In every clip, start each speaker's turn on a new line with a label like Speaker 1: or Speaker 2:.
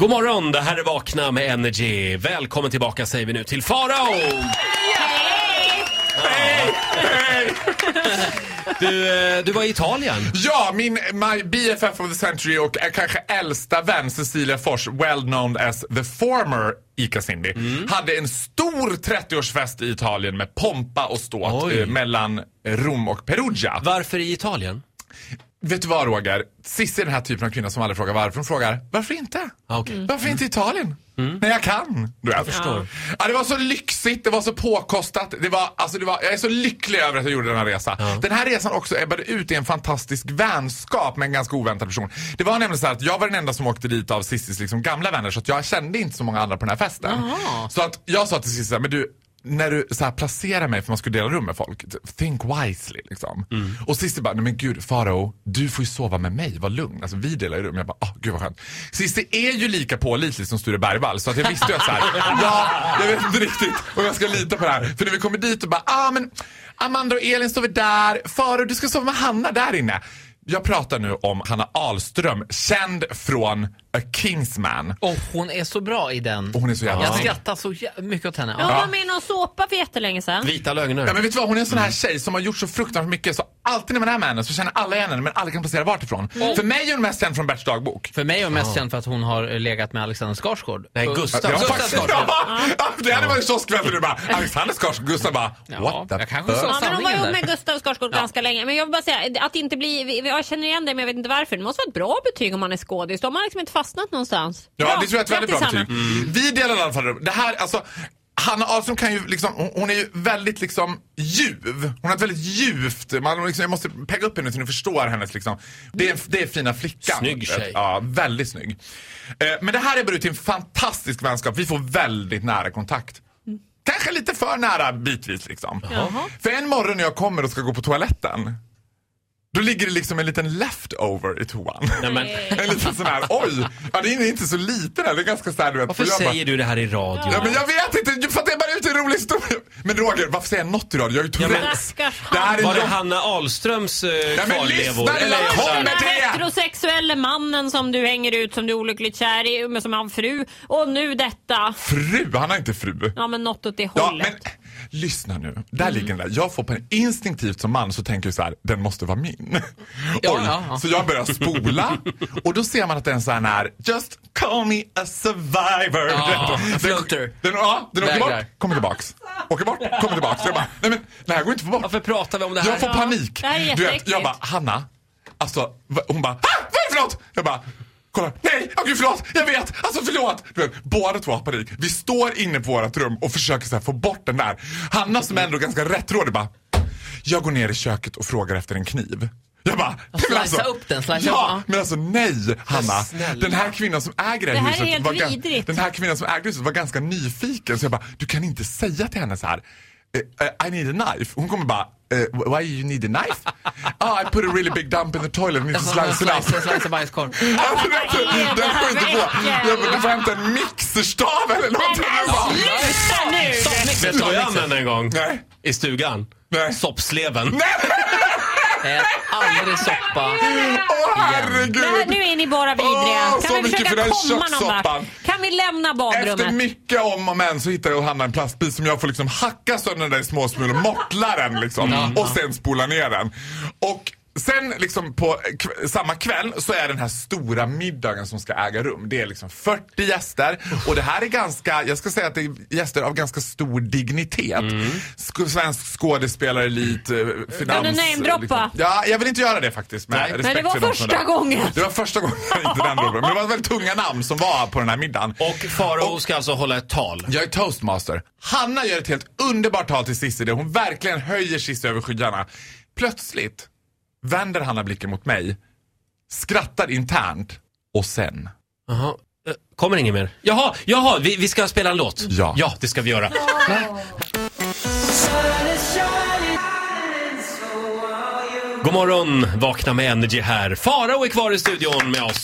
Speaker 1: God morgon, det här är Vakna med Energy. Välkommen tillbaka säger vi nu till Farao! Du, eh, du var i Italien.
Speaker 2: Ja, min my BFF of the century och eh, kanske äldsta vän Cecilia Fors, well known as the former Ica Cindy, hade en stor 30-årsfest i Italien med pompa och ståt
Speaker 1: Oj.
Speaker 2: eh, mellan Rom och Perugia.
Speaker 1: Varför i Italien?
Speaker 2: Vet du vad Roger? Sissi är den här typen av kvinna som aldrig frågar varför. Hon frågar varför inte? Mm.
Speaker 1: Ah, okej. Mm.
Speaker 2: Varför inte Italien? När jag kan. Du, jag
Speaker 1: förstår.
Speaker 2: Ja. det var så lyxigt, det var så påkostat. Det var, alltså, det var, jag är så lycklig över att jag gjorde den här resan. Den här resan också ebbade ut i en fantastisk vänskap med en ganska oväntad person. Det var nämligen så här att jag var den enda som åkte dit av Sissis liksom, gamla vänner så att jag kände inte så många andra på den här festen. Så att jag sa till Sissi så här, men du när du så här placerar mig för man skulle dela rum med folk, think wisely liksom. Och Cissi bara, nej men gud Farao, du får ju sova med mig, var lugn. Alltså vi delar ju rum. Jag bara, ah gud vad skönt. Cissi är ju lika pålitlig som Sture Bergvall så att jag visste ju att så här, ja, jag vet inte riktigt om jag ska lita på det här. För när vi kommer dit och bara, ah men Amanda och Elin sover där, Farao du ska sova med Hanna där inne. Jag pratar nu om Hanna Ahlström, känd från A Kingsman.
Speaker 3: Och hon är så bra i den.
Speaker 2: Och hon är så jävla
Speaker 3: Jag
Speaker 2: snygg.
Speaker 3: skrattar så jä- mycket åt henne.
Speaker 4: Hon
Speaker 3: Ja.
Speaker 4: var med i någon såpa för jättelänge sedan.
Speaker 1: Vita lögner.
Speaker 2: Ja, men vet du vad? Hon är en
Speaker 3: Mm.
Speaker 2: sån här tjej som har gjort så fruktansvärt mycket så alltid när man är med henne så känner alla igen henne men alla kan placera vart ifrån.
Speaker 3: Mm.
Speaker 2: För mig är hon mest känd från Berts dagbok.
Speaker 3: För mig är hon mest känd för att hon har eh, legat med Alexander Skarsgård.
Speaker 1: Nej,
Speaker 3: Och-
Speaker 1: Gustav.
Speaker 2: Ja,
Speaker 3: Gustav
Speaker 2: faktiskt,
Speaker 3: Skarsgård.
Speaker 2: ja. Det hade varit kioskväll för du bara Alexander Skarsgård, Gustav bara what the
Speaker 3: jag kanske
Speaker 2: fuck?
Speaker 3: sa-
Speaker 4: Ja, men hon var
Speaker 3: sanningen
Speaker 4: ihop
Speaker 3: där.
Speaker 4: med Gustav Skarsgård ganska länge. Men jag vill bara säga, att inte bli, vi- jag känner igen dig men jag vet inte varför. Det måste vara ett bra betyg om man är skådis. Då har man liksom inte fastnat någonstans.
Speaker 2: Ja, det tror jag är ett väldigt bra
Speaker 4: grattis,
Speaker 2: betyg. Mm. Vi delar i alla fall rum. Det här, alltså, Hanna Ahlström kan ju liksom, hon, hon är ju väldigt liksom ljuv. Hon har ett väldigt ljuvt, man liksom, jag måste pegga upp henne så ni förstår hennes liksom. Det är, det är fina flickan.
Speaker 1: Snygg tjej.
Speaker 2: Ja, väldigt snygg. Eh, men det här är bara till en fantastisk vänskap. Vi får väldigt nära kontakt. Kanske lite för nära bitvis liksom.
Speaker 4: Jaha.
Speaker 2: För en morgon när jag kommer och ska gå på toaletten. Då ligger det liksom en liten leftover i toan.
Speaker 1: Nej, men,
Speaker 2: En liten sån här, oj! Ja, det är inte så liten här. Det är ganska så här, du vet.
Speaker 1: varför
Speaker 2: Och jag bara-
Speaker 1: säger du det här i radio?
Speaker 2: Ja, men jag vet inte, för att det är bara ut en rolig historia. Men Roger, varför säger jag något idag? Jag är
Speaker 1: men-
Speaker 2: ju Tourettes.
Speaker 4: Stackars
Speaker 2: det här
Speaker 4: han.
Speaker 2: är
Speaker 1: Var det
Speaker 2: jobb-
Speaker 1: Hanna Ahlströms eh,
Speaker 2: men
Speaker 1: kvarlevor?
Speaker 2: lyssna,
Speaker 1: Eller
Speaker 2: jag
Speaker 4: Ja,
Speaker 2: kommer
Speaker 4: den
Speaker 1: Hanna?
Speaker 2: till-
Speaker 4: här heterosexuelle mannen som du hänger ut som du är olyckligt kär i, men som har en fru. Och nu detta.
Speaker 2: Fru, han har inte fru.
Speaker 4: Ja men något åt det
Speaker 2: Ja,
Speaker 4: hållet.
Speaker 2: men lyssna nu. Där ligger den där. Jag får på en instinktivt som man så tänker jag så här, den måste vara min.
Speaker 3: Ja,
Speaker 2: Oj.
Speaker 3: ja, ja.
Speaker 2: Så jag börjar spola och då ser man att den så här när, just call me a survivor.
Speaker 3: Ja,
Speaker 2: den,
Speaker 3: floater.
Speaker 2: Den, ja, den åker
Speaker 3: Vägrar.
Speaker 2: bort, kommer tillbaks. Åker bort, kommer tillbaks. Jag bara, nej men det här går inte att få bort.
Speaker 3: Varför pratar vi om det här?
Speaker 2: Jag får
Speaker 4: Ja,
Speaker 2: panik.
Speaker 4: det här är
Speaker 2: du vet,
Speaker 4: jätteäckligt.
Speaker 2: jag bara, Hanna, alltså, va- hon bara, ah, vad är det för något? Jag bara, kolla, nej, oh, gud förlåt, jag vet, alltså förlåt. Du vet, båda två har panik. Vi står inne på vårt rum och försöker så här, få bort den där. Hanna som är ändå ganska rättrådig bara, jag går ner i köket och frågar efter en kniv. Jag bara, nej, men alltså,
Speaker 3: slicea upp den, slicea upp,
Speaker 2: ja,
Speaker 3: ja.
Speaker 2: men alltså nej Hanna.
Speaker 1: snälla.
Speaker 2: Den här kvinnan som äger det
Speaker 4: Det här är
Speaker 2: huset
Speaker 4: helt
Speaker 2: var gan-
Speaker 4: vidrigt.
Speaker 2: Den här kvinnan som ägde huset var ganska nyfiken så jag bara, du kan inte säga till henne så här. "Eh, eh, I need a knife. Hon kommer bara, "Eh, why you need a knife? Ah, I put a really big dump in the toilet and need to slice it
Speaker 3: Alltså, Slice,
Speaker 2: up.
Speaker 3: slice bajskorv.
Speaker 2: Alltså, den-
Speaker 4: Vad är det
Speaker 2: Den får
Speaker 4: här
Speaker 2: inte
Speaker 4: för
Speaker 2: på.
Speaker 4: äckel?
Speaker 2: Jag bara, Du får hämta en mixerstav eller någonting. Jag bara,
Speaker 4: Sluta alltså, nu!
Speaker 1: Vet du vad jag använde en gång?
Speaker 2: Liksom. Nej.
Speaker 1: I stugan?
Speaker 2: Nej.
Speaker 1: Soppsleven.
Speaker 3: Ät Eh, aldrig soppa.
Speaker 2: Åh
Speaker 4: Det här,
Speaker 2: herregud.
Speaker 4: nu är ni bara vidriga.
Speaker 2: Åh, så
Speaker 4: kan vi
Speaker 2: mycket för
Speaker 4: försöka
Speaker 2: den
Speaker 4: komma någon
Speaker 2: kökssoppan.
Speaker 4: vart? Kan vi lämna
Speaker 2: Efter
Speaker 4: badrummet?
Speaker 2: mycket om och men så hittar jag och Hanna en plastbit som jag får liksom hacka sönder den där i små smulor, mortla den liksom och sen spola ner den. Och Sen liksom på k- samma kväll så är den här stora middagen som ska äga rum. Det är liksom 40 gäster och det här är ganska, jag ska säga att det är gäster av ganska stor dignitet. Sk- svensk skådespelarelit, eh, finans... eh, liksom.
Speaker 4: Kan du namedroppa?
Speaker 2: Ja, jag vill inte göra det faktiskt. Med respekt
Speaker 4: Men det var
Speaker 2: för de som är
Speaker 4: första
Speaker 2: där.
Speaker 4: gången.
Speaker 2: Det var första gången, inte den droppen. Men det var väldigt tunga namn som var på den här middagen.
Speaker 1: Och Farao ska alltså hålla ett tal.
Speaker 2: Jag är toastmaster. Hanna gör ett helt underbart tal till Cissi där hon verkligen höjer Cissi över skyarna. Plötsligt vänder Hanna blicken mot mig, skrattar internt och sen...
Speaker 1: Jaha. Eh, Kommer ingen mer? Jaha, jaha vi, vi ska spela en låt.
Speaker 2: Ja.
Speaker 1: ja det ska vi göra. God morgon, vakna med Energy här. Farao är kvar i studion med oss.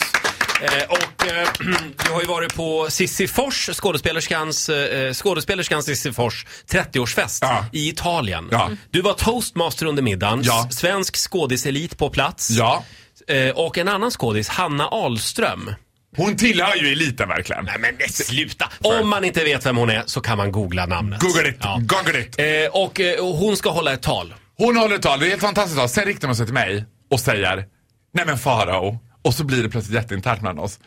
Speaker 1: Eh, och eh, du har ju varit på Sissi Fors, skådespelerskans, eh, skådespelerskans Sissi Fors 30-årsfest
Speaker 2: Ja.
Speaker 1: i Italien.
Speaker 2: Ja.
Speaker 1: Du var toastmaster under middagen,
Speaker 2: Ja.
Speaker 1: svensk skådiselit på plats.
Speaker 2: Ja.
Speaker 1: Eh, och en annan skådis, Hanna Ahlström.
Speaker 2: Hon tillhör ju eliten verkligen.
Speaker 1: Nej men sluta! Om man inte vet vem hon är så kan man googla namnet.
Speaker 2: Google it,
Speaker 1: Ja.
Speaker 2: google it.
Speaker 1: Eh, och, eh, och hon ska hålla ett tal.
Speaker 2: Hon håller ett tal, det är helt fantastiskt tal. Sen riktar hon sig till mig och säger Nej men farao. Och så blir det plötsligt jätteinternt mellan oss.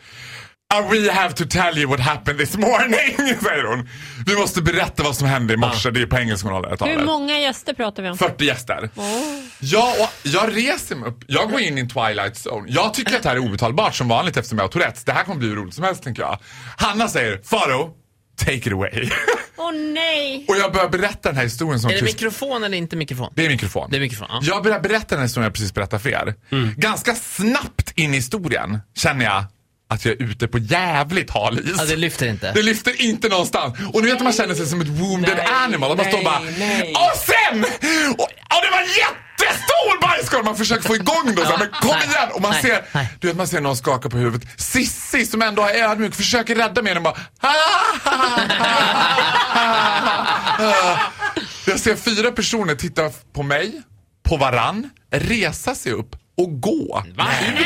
Speaker 2: "Uh, We have to tell you what happened this morning, säger hon. Vi måste berätta vad som hände i morse. Det är på engelska hon håller det
Speaker 4: Hur
Speaker 2: talet.
Speaker 4: många gäster pratar vi om?
Speaker 2: 40 gäster. Ja, och jag reser mig upp. Jag går in i en twilight zone. Jag tycker att det här är obetalbart som vanligt eftersom jag har Tourettes. Det här kommer bli hur roligt som helst tänker jag. Hanna säger, Faro, take it away.
Speaker 4: Åh nej!
Speaker 2: och jag börjar berätta den här historien som
Speaker 3: Är det
Speaker 2: tyst-
Speaker 3: mikrofon eller inte mikrofon?
Speaker 2: det är mikrofon.
Speaker 3: Det är mikrofon, ja. Mm.
Speaker 2: Jag börjar berätta den här historien jag precis berättade för er. Ganska snabbt in i historien känner jag att jag är ute på jävligt hal is.
Speaker 3: Ja, det lyfter inte.
Speaker 2: Det lyfter inte någonstans. Och nu vet man känner sig som ett wounded animal. Och man står bara... Och sen! Och, och det var en jättestor bajskorv! Man försöker få igång då. Så här, men kom
Speaker 3: Nej.
Speaker 2: igen! Och man
Speaker 3: Nej.
Speaker 2: ser,
Speaker 3: Nej.
Speaker 2: du vet man ser någon skaka på huvudet. Sissi som ändå är ödmjuk försöker rädda mig genom bara... "Ah, ah, ah, ah." Jag ser fyra personer titta på mig, på varann, resa sig upp och gå ut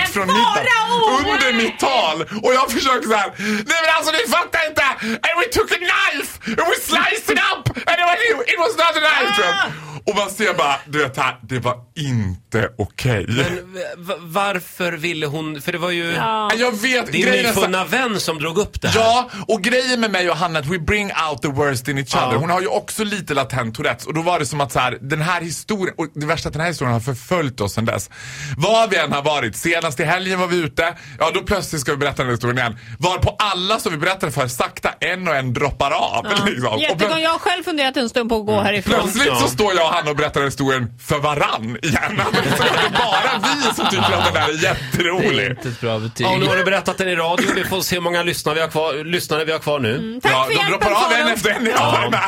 Speaker 2: från
Speaker 4: Men
Speaker 2: middagen
Speaker 4: Farao,
Speaker 2: under
Speaker 4: nej!
Speaker 2: mitt tal. Och jag försöker så här. nej men alltså ni fattar inte! And we took a knife and we sliced it up and it was, it was not a knife! tror jag. Och man ser bara, du vet här, det var inte okej.
Speaker 1: Men v- v- varför ville hon, för det var ju
Speaker 4: Ja.
Speaker 2: Jag vet,
Speaker 1: din
Speaker 2: grejen är så-
Speaker 1: nyfunna vän som drog upp det här.
Speaker 2: Ja, och grejen med mig och Hanna är att we bring out the worst in each other. Hon har ju också lite latent Tourettes och då var det som att så här, den här historien, och det värsta är att den här historien har förföljt oss sedan dess. Var vi än har varit, senast i helgen var vi ute, ja då plötsligt ska vi berätta den här historien igen. Var på alla som vi berättade för sakta en och en droppar av. Liksom. Och
Speaker 4: Jättegång,
Speaker 2: plö-
Speaker 4: jag har själv funderat en stund på att gå härifrån.
Speaker 2: Plötsligt så står jag och Hanna och berättar den här historien för varann igen. Så det är bara vi som tycker att den där är
Speaker 3: Det är
Speaker 2: jätterolig.
Speaker 3: inte ett bra betyg.
Speaker 1: Ja, nu har du berättat den i radio. Vi får se hur många lyssnare vi har kvar, lyssnare vi har kvar nu.
Speaker 4: Tack
Speaker 2: Ja,
Speaker 4: för
Speaker 2: de
Speaker 4: hjälpen
Speaker 2: droppar av en
Speaker 4: Farao.
Speaker 2: efter en. Ja. Ja.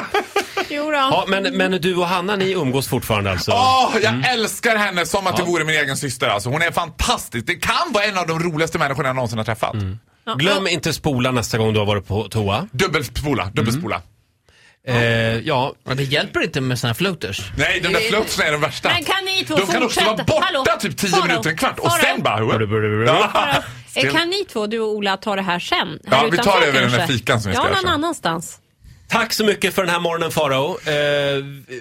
Speaker 4: Jo
Speaker 1: Ja,
Speaker 4: då.
Speaker 1: men, men du och Hanna, ni umgås fortfarande alltså?
Speaker 2: Åh, jag älskar henne som att det vore min egen syster alltså. Hon är fantastisk. Det kan vara en av de roligaste människorna jag någonsin har träffat.
Speaker 1: Glöm inte spola nästa gång du har varit på toa.
Speaker 2: Dubbelspola, dubbelspola.
Speaker 1: Eh, ja,
Speaker 3: Men det hjälper inte med såna här floaters.
Speaker 2: Nej, de där
Speaker 4: Eh,
Speaker 2: flörterna är de värsta.
Speaker 4: Men kan ni två
Speaker 2: de kan också
Speaker 4: fortsätta?
Speaker 2: vara borta
Speaker 4: Hallå?
Speaker 2: typ 10
Speaker 4: Farao?
Speaker 2: minuter, en kvart och
Speaker 4: Farao?
Speaker 2: sen bara...
Speaker 4: Farao?
Speaker 2: Ja.
Speaker 4: Eh,
Speaker 2: Still.
Speaker 4: Kan ni två, du och Ola, ta det här sen?
Speaker 2: Ja,
Speaker 4: Här
Speaker 2: vi tar
Speaker 4: utanför
Speaker 2: det över den där
Speaker 4: kanske?
Speaker 2: fikan som vi ska
Speaker 4: Ja,
Speaker 2: göra
Speaker 4: någon
Speaker 2: sen.
Speaker 4: annanstans.
Speaker 1: tack så mycket för den här morgonen Farao. Eh,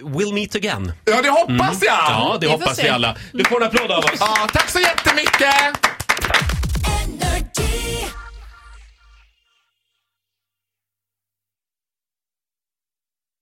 Speaker 1: we'll meet again.
Speaker 2: ja, det hoppas jag!
Speaker 1: Ja,
Speaker 2: Ja.
Speaker 1: det
Speaker 4: Vi får
Speaker 1: hoppas
Speaker 4: se.
Speaker 1: vi alla. Du får en applåd av oss.
Speaker 2: tack så jättemycket!
Speaker 5: Energy.